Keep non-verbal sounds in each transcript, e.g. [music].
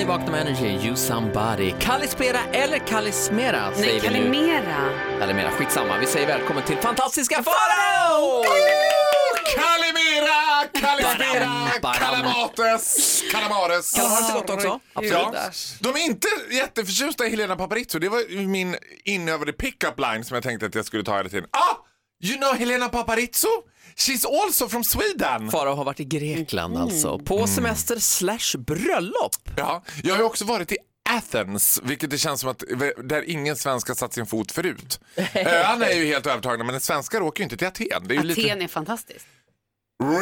i Vakna med Energy, You Somebody. Kalispera eller kalismera säger Nej, vi nu. kalimera. Kalimera, skitsamma. Vi säger välkommen till fantastiska Farao! Kalimera, Badam, badam. Kalispera, Kalamates, Kalamares. Kan man ha det gott också? Absolut. Ja. De är inte jätteförtjusta i Helena Paparizou. Det var ju min inövade pick-up line som jag tänkte att jag skulle ta hela tiden. Ah! You know Helena Paparizou? She's also from Sweden. Farao har varit i Grekland Mm. alltså, på semester slash bröllop. Ja, jag har ju också varit i Athens, vilket det känns som att där ingen svensk har satt sin fot [laughs] förut. Öarna är ju helt övertagna, men svenskar åker ju inte till Aten. Det är ju lite... Aten är fantastiskt.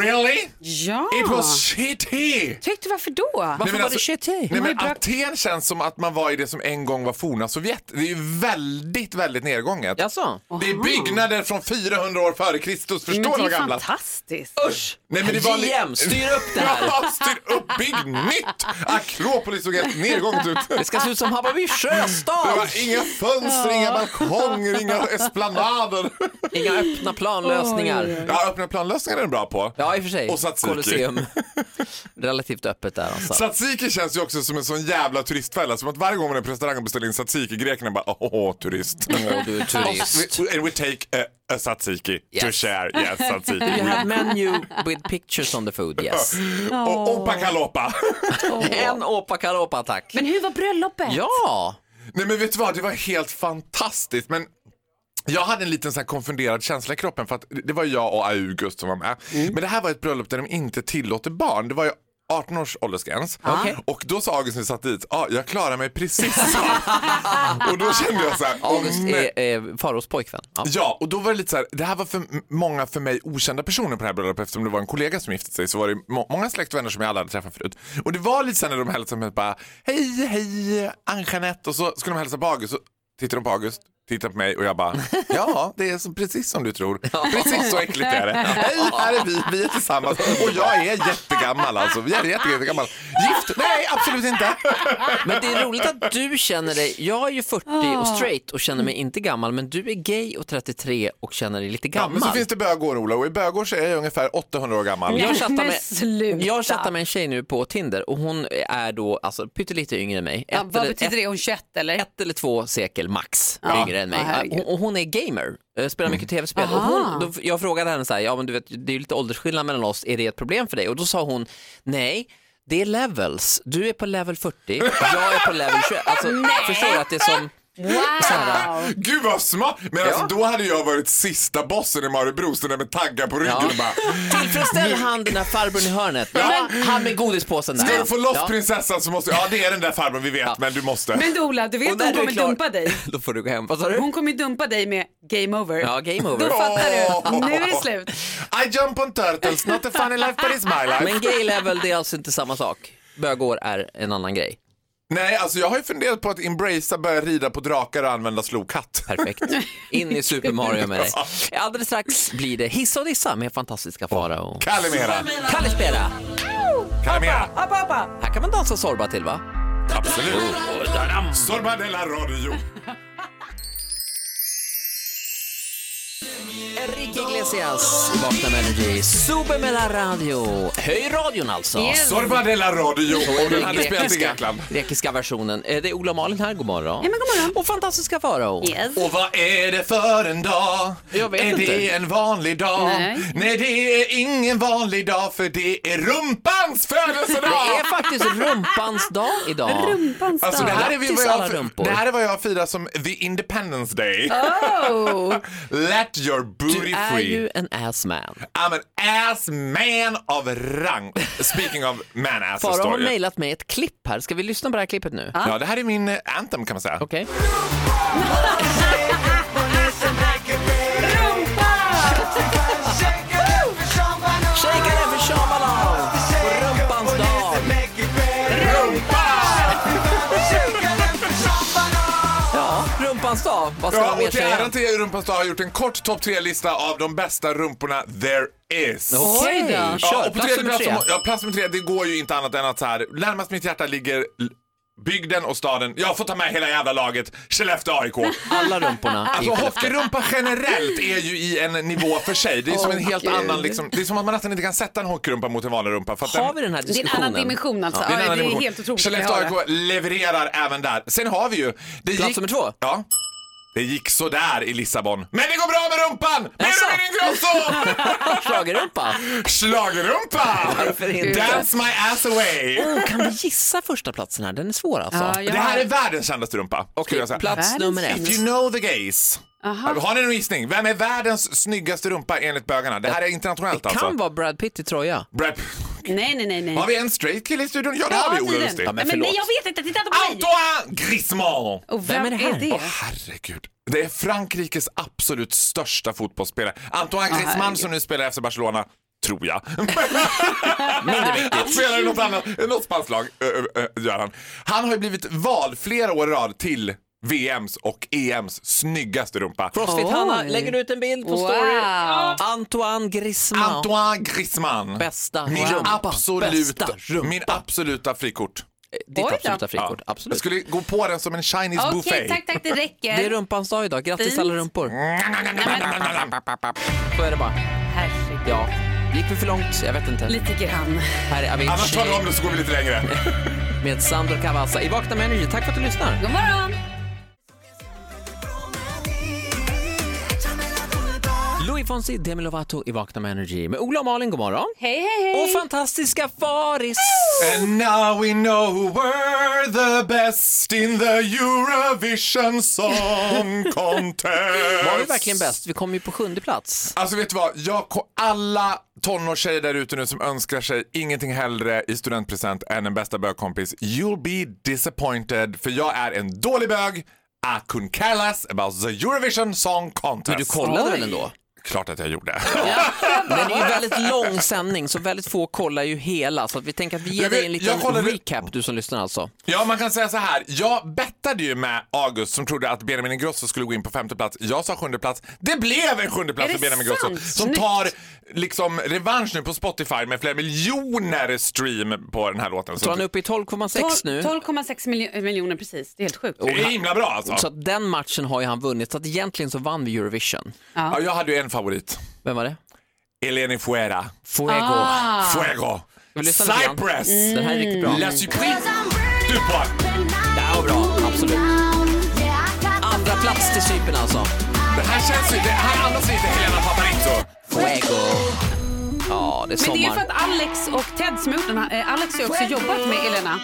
Really? Ja! It Ah. was shitty! Tyckte varför då? Varför men var alltså- det shitty? Nej, var ju men bra- Aten känns som att man var i det som en gång var forna Sovjet. Det är ju väldigt, väldigt nedgånget. Jaså? Det är byggnader från 400 år före Kristus. Förstår Men du det är vad ju gamla? fantastiskt. Usch! Nej, li- JM, styr upp det här. Ja, styr upp, bygg nytt! Akropolis såg helt nedgånget ut. Det ska se ut som Hammarby Det sjöstad. var inga fönster, inga balkonger, inga esplanader. Inga öppna planlösningar. Ja, öppna planlösningar är den bra på. Ja, i och för sig. Och tzatziki. Colosseum. Relativt öppet där alltså. Tzatziki känns ju också som en sån jävla turistfälla. Som att varje gång man är på restaurang och beställer in tzatziki, grekerna bara åh, åh, åh, turist. Mm. Åh, du är turist. We, and we take a, a tzatziki to Yes. share. Yes, tzatziki. [laughs] You have menu with pictures on the food, yes. Och Opa Kalopa. En åpa karopa, tack. Men hur var bröllopet? Ja! [laughs] Nej men vet du vad, det var helt fantastiskt. Men jag hade en liten så här konfunderad känsla i kroppen för att det var jag och August som var med. Mm. Men det här var ett bröllop där de inte tillåter barn. Det var ju 18 års åldersgräns. Okej. Och då sa August när vi satt dit, ja ah, jag klarar mig precis. [laughs] och då kände jag så här, åh August nej. är, är Faros pojkvän. Ja. Ja, och då var det lite så här, det här var för m- många för mig okända personer på det här bröllopet eftersom det var en kollega som gifte sig så var det må- många släkt och vänner som jag aldrig hade träffat förut. Och det var lite så här när de hälsade mig bara hej, hej, Ann-Jeanette och så skulle de hälsa på August och tittar de på August, tittar på mig och jag bara ja, det är som, precis som du tror. Precis så äckligt är det. Hej, här är vi, vi är tillsammans och jag är jättegammal alltså. Jag är jätte- jättegammal. Gift? Nej, absolut inte. Men det är roligt att du känner dig, jag är ju 40 Ah. och straight och känner mig inte gammal, men du är gay och 33 och känner dig lite Ja, gammal. men så finns det bögår Ola och i bögår så är jag ungefär 800 år gammal. Jag chattar Men med- sluta. Jag chattar med en tjej nu på Tinder och hon är då alltså, pyttelite yngre än mig. ja, Ett vad eller- betyder det? Hon 21 eller? ett eller två sekel max Ja. yngre än Ja, mig. herregud. hon, och hon är gamer, eh, spelar mycket Mm. tv-spel. Och hon, då, jag frågade henne så här, ja men du vet det är ju lite åldersskillnad mellan oss, är det ett problem för dig? Och då sa hon, nej det är levels, du är på level 40, jag är på level 21. Alltså, förstår du att det är som, Wow! [laughs] Gud vad smart! Men Ja. alltså, då hade jag varit sista bossen i Maribro, så där med taggar på ryggen Ja. och bara tillfredsställ han den där farbrorn i hörnet, ja, han med godispåsen där. Ska du få loss Ja. prinsessan så måste Ja det är den där farbrorn vi vet men du måste. Men du Ola, du vet när hon du är kommer klar- dumpa dig. [laughs] Då får du gå hem. Vad sa du? Hon kommer ju dumpa dig med game over. Ja, game Då over. fattar du. Åh. Nu är det slut. I jump on turtles, not a funny life but it's my life. Men gay level, det är alltså inte samma sak. Bögår är en annan grej. Nej alltså jag har ju funderat på att embracea, börja rida på drakar och använda slokhatt. Perfekt. [laughs] In i Super Mario med dig. Alldeles strax blir det Hissa och Dissa med fantastiska Farao. och Kalimera, Kalle Spera. Kalimera, Här kan man dansa Zorba till va? absolut. Sorba de la radio. Enrique Iglesias, Vakna med Energy, Super med la radio. Höj radion alltså. Yes. Sorba de la radio. Om den hade spelat i grekiska, Grekland. grekiska versionen. Eh, Det är Ola och Malin här, god morgon. Ja, men god morgon. Och fantastiska Farao. Yes. Och vad är det för en dag? Jag vet är det inte. en vanlig dag? Nej. det är ingen vanlig dag för det är rumpans Det är födelsedag! faktiskt rumpans dag idag. Rumpans Alltså, det, dag. här är vi Grattis vad alla rumpor. jag, det här är vad jag firar som the independence day. Oh. Let your Du booty är free. ju en ass man. I'm an ass man of rang. Speaking of man ass Farao har mejlat mig ett klipp här. Ska vi lyssna på det här klippet nu? Ja, det här är min eh, anthem kan man säga. Okej. Shakar för Shabalala på ah. rumpans dag. Ja, rumpans dag. Vad ska Ja, man mer och till säga? äran till Rumpans dag har jag gjort en kort topp tre-lista av de bästa rumporna there is. Okej, Oj då. kör. och på Plats tredje nummer plats, alltså, tre. ja, plats nummer tre, det går ju inte annat än att så här, närmast mitt hjärta ligger l- bygden och staden. Jag får ta med hela jävla laget. Skellefteå [laughs] AIK. Alla rumporna [laughs] i Alltså Skellefteå. hockeyrumpa Alltså, generellt är ju i en nivå för sig. Det är som en Åh, helt gud. annan, liksom, det är som att man nästan inte kan sätta en hockeyrumpa mot en vanlig rumpa. För att Har vi den här Det är en diskussionen? annan dimension alltså. det är Ja, en annan det är dimension. helt otroligt. att Skellefteå höra. AIK levererar även där. Sen har vi ju... Det Plats nummer två. Ja. Det gick så där i Lissabon. Men det går bra med rumpan! Jaså? Med Ingrosso! [laughs] Schlagerrumpa. Schlagerrumpa! Varför inte? Dance my ass away! Oh, kan vi gissa första platsen här? Den är svår alltså. Ja, jag Det här har- är alltså. världens kändaste rumpa. skulle jag säga. Plats Världens nummer ett. If you know the gays. Har ni någon gissning? Vem är världens snyggaste rumpa enligt bögarna? Det här är internationellt Det alltså. kan vara Brad Pitt i tröja. Brad... Nej, nej, nej. nej. Har vi en straight kille i studion? Ja, det har vi. tydligen. Ola Lustig. Ja, men Nej, nej, jag förlåt. vet inte. Titta inte på mig. Antoine Griezmann! Och Vem är det här? Åh herregud. Det är Frankrikes absolut största fotbollsspelare. Antoine Griezmann herregud. som nu spelar efter Barcelona, tror [laughs] jag. Mindre viktigt. Han spelar i något annat, i något spanskt lag, ö, ö, ö, gör han. Han har ju blivit vald flera år i rad till VMs och EMs snyggaste rumpa. Crossfit Oj. Hanna lägger ut en bild på story. Wow. Antoine Griezmann. Antoine Griezmann. Bästa Min rumpa. absoluta, Bästa rumpa. min absoluta frikort. Ditt Oj då. absoluta frikort, Ja. Jag absolut. skulle gå på den som en Chinese Okej, buffet. tack, tack. Det räcker. Det är rumpans dag idag, grattis Fint. alla rumpor. Så är det bara. Herregud. Ja. Gick vi för långt? Jag vet inte. Lite grann. Här är Annars tar du Avicii om det så går vi lite längre. med Sandro Cavazza i Vakna med Energy. Tack för att du lyssnar. God morgon. Louis Fonsi, Demi Lovato i Vakna med Energy med Ola och Malin, god morgon. Hej, hej, hej. Och fantastiska Faris! And now we know we're the best in the Eurovision [laughs] Song Contest. Var vi verkligen bäst? Vi kom ju på sjunde plats. Alltså vet du vad, jag, ko- alla tonårstjejer där ute nu som önskar sig ingenting hellre i studentpresent än en bästa bögkompis, you'll be disappointed för jag är en dålig bög. I couldn't care less about the Eurovision Song Contest. Men du kollade Oj. väl ändå? Klart att jag gjorde. Men det är ju väldigt lång sändning så väldigt få kollar ju hela så att vi tänker att vi ger Jag vet- dig en liten jag kollade- recap du som lyssnar alltså. Ja, man kan säga så här. Jag bettade ju med August som trodde att Benjamin Ingrosso skulle gå in på femte plats. Jag sa sjunde plats. Det blev en sjunde plats Är för det Benjamin Ingrosso sant? som Snyggt. tar liksom revansch nu på Spotify med flera miljoner stream på den här låten. Så Så han är det uppe i 12,6 nu. 12,6 miljo- miljoner precis. Det är helt sjukt. är himla bra alltså. Så att den matchen har ju han vunnit så att egentligen så vann vi Eurovision. Ja, jag hade ju en favorit. Vem var det? Eleni Fuera. Fuego. Ah. Fuego. Vill du lyssna lite grann? Cypress. Mm. Den här är riktigt bra. La Supreme. Du på. Det här var bra, absolut. Andra plats till Cypern alltså. Det här känns ju... Det här andas lite Helena Paparizou. Fuego. Ja, det är Men det är ju för sommar. att Alex och Ted som har gjort den här, eh, Alex har ju också jobbat med Elena.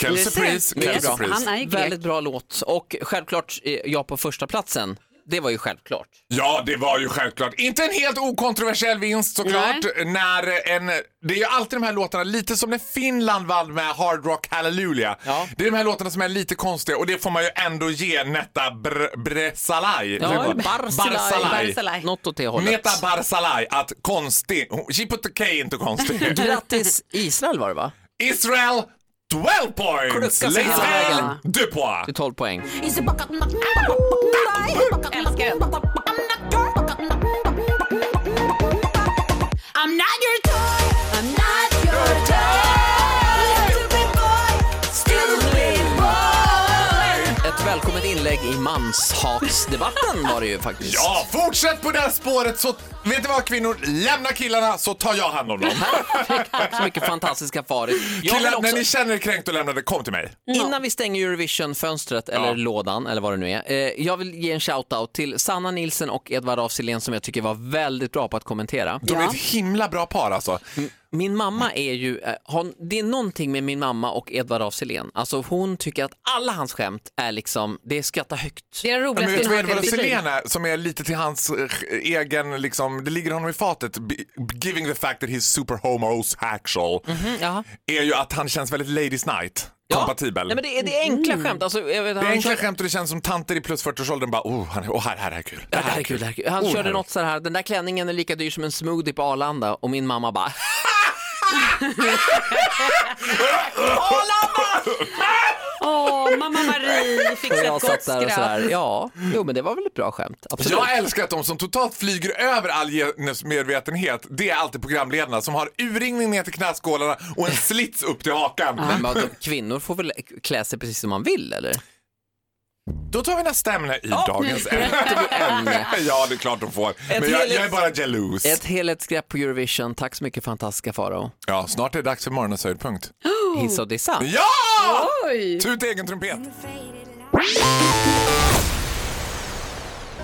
Kel Surprise. Det är Kel bra. Surprise. Han är ju grek. Väldigt bra låt och självklart eh, jag på första platsen. Det var ju självklart. Ja, det var ju självklart. Inte en helt okontroversiell vinst såklart. När en, det är ju alltid de här låtarna, lite som när Finland vann med Hard Rock Hallelujah. Ja. Det är de här låtarna som är lite konstiga och det får man ju ändå ge Netta Br- Bresalaj. Ja, Barsalaj. Barzilai. Något åt det hållet. Netta Barsalaj, att konstig. She put the K inte [laughs] konstig. Grattis Israel var det va? Israel, 12 points! Klucka sig hela Lisel vägen. Dupois. Det är 12 poäng. I'm not your toy. I'm not your toy. Stupid boy. Stupid boy. Ett välkommet inlägg i manshatsdebatten var det ju faktiskt. Ja, fortsätt på det här spåret så, vet du vad kvinnor, lämna killarna så tar jag hand om [laughs] dem. Tack så mycket fantastiska Faris. Jag vill Killar, när också, ni känner er kränkt och lämnade, kom till mig. innan vi stänger Eurovision-fönstret eller Ja. lådan eller vad det nu är. Eh, jag vill ge en shout-out till Sanna Nilsen och Edvard af Sillén som jag tycker var väldigt bra på att kommentera. De är ett himla bra par Mm. alltså. Min mamma är ju, eh, har, det är någonting med min mamma och Edvard af Sillén. Alltså hon tycker att alla hans skämt är liksom, det är skratta högt. Det är det Men roligaste vet du jag har vad hört i Edvard mitt liv. Selena som är lite till hans eh, egen, liksom, det ligger honom i fatet, b- giving the fact that he's super homosexual, Ja. är ju att han känns väldigt ladies night kompatibel. Nej, men det, är, det är enkla skämt. Alltså, jag vet, det är han enkla kör- skämt och det känns som tanter i plus 40-årsåldern bara, oh, han är, oh här, här är kul. Ja, det här är kul, det här är kul. Han Oh, det här körde är- något så här, den där klänningen är lika dyr som en smoothie på Arlanda och min mamma bara [laughs] Arlanda! Åh, mamma [laughs] Marie fick Och sig jag ett gott satt där och skratt. sådär, ja, jo men det var väl ett bra skämt, absolut. Jag älskar att de som totalt flyger över all genusmedvetenhet, det är alltid programledarna som har urringning ner till knäskålarna och en slits upp till hakan. Men vad- de- kvinnor får väl klä sig precis som man vill eller? Då tar vi nästa ämne i [laughs] dagens ämne. ja, det är klart de får. Men jag, helhets- jag är bara jaloux. Ett helhetsgrepp på Eurovision, tack så mycket fantastiska Farao. Ja, snart är det dags för morgonens höjdpunkt. Oh. Hissa och dissa. Ja! Oj! Tut egen trumpet.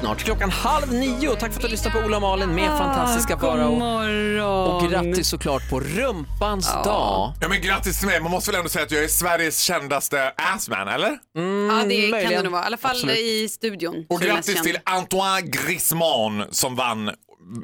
Snart klockan halv nio. Tack för att du lyssnade på Ola och Malin Ah, med fantastiska God Farao. morgon. Och grattis såklart på rumpans dag. Ja, men grattis till mig. Man måste väl ändå säga att jag är Sveriges kändaste assman, eller? Ja, det kan möjligen. det nog vara. I alla fall Absolut. i studion. Och så är det mest grattis känd. till Antoine Griezmann som vann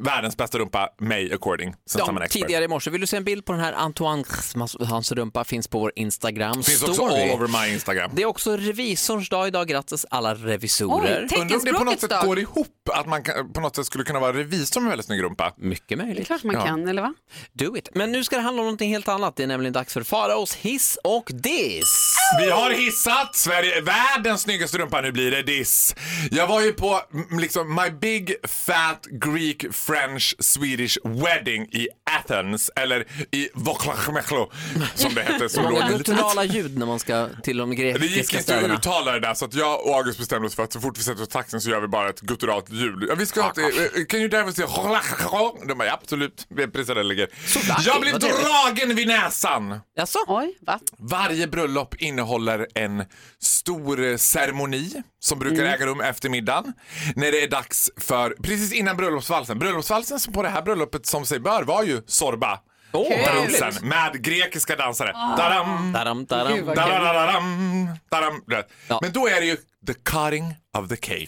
världens bästa rumpa, mig according. Sen Ja, tidigare i morse. Vill du se en bild på den här Antoine Griezmanns- hans rumpa finns på vår Instagram Finns också story. all over my Instagram. Det är också revisorns dag idag. Grattis alla revisorer. Oj, tänk- Undrar om det på något Teckenspråkets sätt dag. går ihop, att man kan, på något sätt skulle kunna vara revisor med väldigt snygg rumpa. Mycket Det är möjligt. klart man Ja. kan, eller va? Do it. Men nu ska det handla om någonting helt annat. Det är nämligen dags för Faraos hiss och diss. Vi har hissat Sverige, är världens snyggaste rumpa, nu blir det diss. Jag var ju på mm, liksom, My Big Fat Greek French Swedish Wedding i Athens, eller i Voklachmechlo som det hette. Som [laughs] Många låg lite- gutturala ljud när man ska till de det gick grekiska inte att städerna. uttala det där så att jag och August bestämde oss för att så fort vi sätter oss i taxin så gör vi bara ett gutturalt ljud. Ja, vi ska Ah, ha ett, eh, can you drive us to De bara ja, absolut, det är precis där det ligger. Sådär, Jag blev vad trevligt. dragen vid näsan. Jaså? Oj, va? Varje bröllop innehåller en stor eh, ceremoni som brukar Mm. äga rum efter middagen. När det är dags för, precis innan bröllopsvalsen. Bröllopsvalsen som på det här bröllopet som sig bör var ju Zorba. Åh, vad roligt. Ah. dansen med grekiska dansare. Daram, Daram, daram. Gud, vad kul. dararararam, daram. du vet. Ja. Men då är det ju the cutting of the [gasps] cake.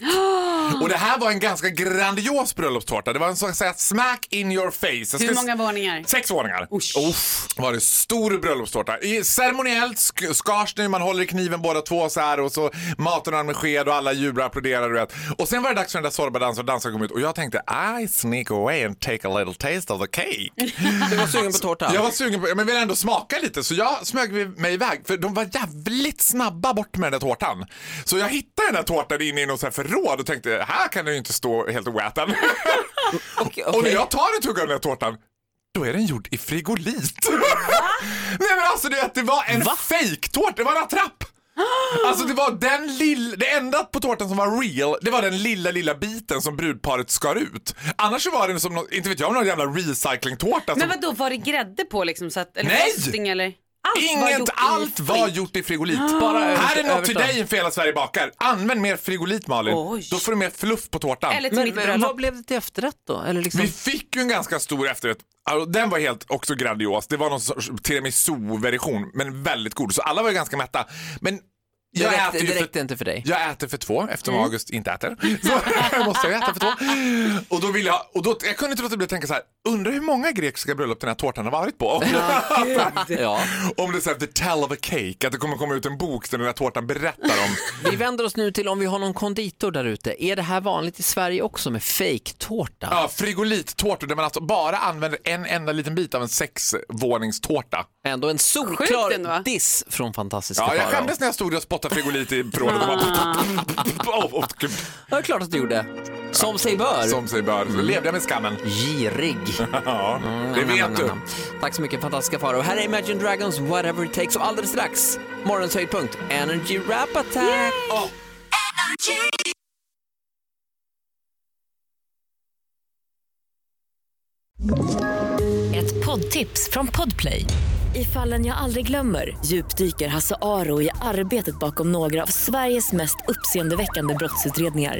Och det här var en ganska grandios bröllopstårta. Det var en så att säga smack in your face. Jag Hur ska- många våningar? Sex våningar. Usch. Uff, var det stor bröllopstårta. I- Ceremoniellt sk- skars det, man håller i kniven båda två så här och så matar man med sked och alla jublar och applåderar. Du vet. Och sen var det dags för den där Zorba-dansen och dansaren kom ut och jag tänkte I sneak away and take a little taste of the cake. Du var sugen på tårta? Jag var sugen på, men ville ändå smaka lite så jag smög mig iväg för de var jävligt snabba bort med den där tårtan. Så jag hittade den där tårtan inne i något så här förråd och tänkte här kan den ju inte stå helt oäten. [laughs] Okej, Och när okej. jag tar en tugga av den här tårtan, då är den gjord i frigolit. [laughs] Nej men alltså du vet, det var en fejktårta, det var en [gasps] attrapp. Alltså det var den lilla, det enda på tårtan som var real, det var den lilla, lilla biten som brudparet skar ut. Annars så var den som, nå- inte vet jag, någon jävla recyclingtårta. Men Som, vad då var det grädde på liksom? Så att, eller Nej! frosting eller? Allt var gjort inget, i allt var skit. gjort i frigolit. [gasps] Bara Här är översta- något till dig inför hela Sverige bakar. Använd mer frigolit Malin, Oj. då får du mer fluff på tårtan. Eller till Men, mitt men vad bröllop. blev det till efterrätt då? Eller liksom... Vi fick ju en ganska stor efterrätt. Alltså, den var helt också grandios. Det var någon sorts tiramisu-version, men väldigt god. Så alla var ju ganska mätta. Men jag det äter räckte, ju det för- räckte inte för dig. jag äter för två eftersom August inte äter. [laughs] Så måste jag äta för två. Och då vill jag, och då, jag kunde inte låta bli att tänka så här, undrar hur många grekiska bröllop den här tårtan har varit på? [laughs] Ja. [laughs] Om det är så här, the tell of a cake, att det kommer komma ut en bok där den här tårtan berättar om Vi vänder oss nu till om vi har någon konditor där ute. Är det här vanligt i Sverige också med fejktårta? ja, frigolittårtor där man alltså bara använder en enda liten bit av en sexvåningstårta. Ändå en Sjukt ändå, va? solklar diss från fantastiska Ja, jag Farao. skämdes när jag stod och spottade frigolit i förrådet. och bara- Åh, åh, gud. Ja, det är klart att du gjorde. Som sig bör. Som sig bör. Så levde jag med skammen. Girig. Ja, det vet du. Tack så mycket fantastiska Farao. Här är Imagine Dragons Whatever It Takes och alldeles strax morgonens höjdpunkt Energy Rap Attack. Åh, Ett poddtips från Podplay. I fallen jag aldrig glömmer djupdyker Hasse Aro i arbetet bakom några av Sveriges mest uppseendeväckande brottsutredningar.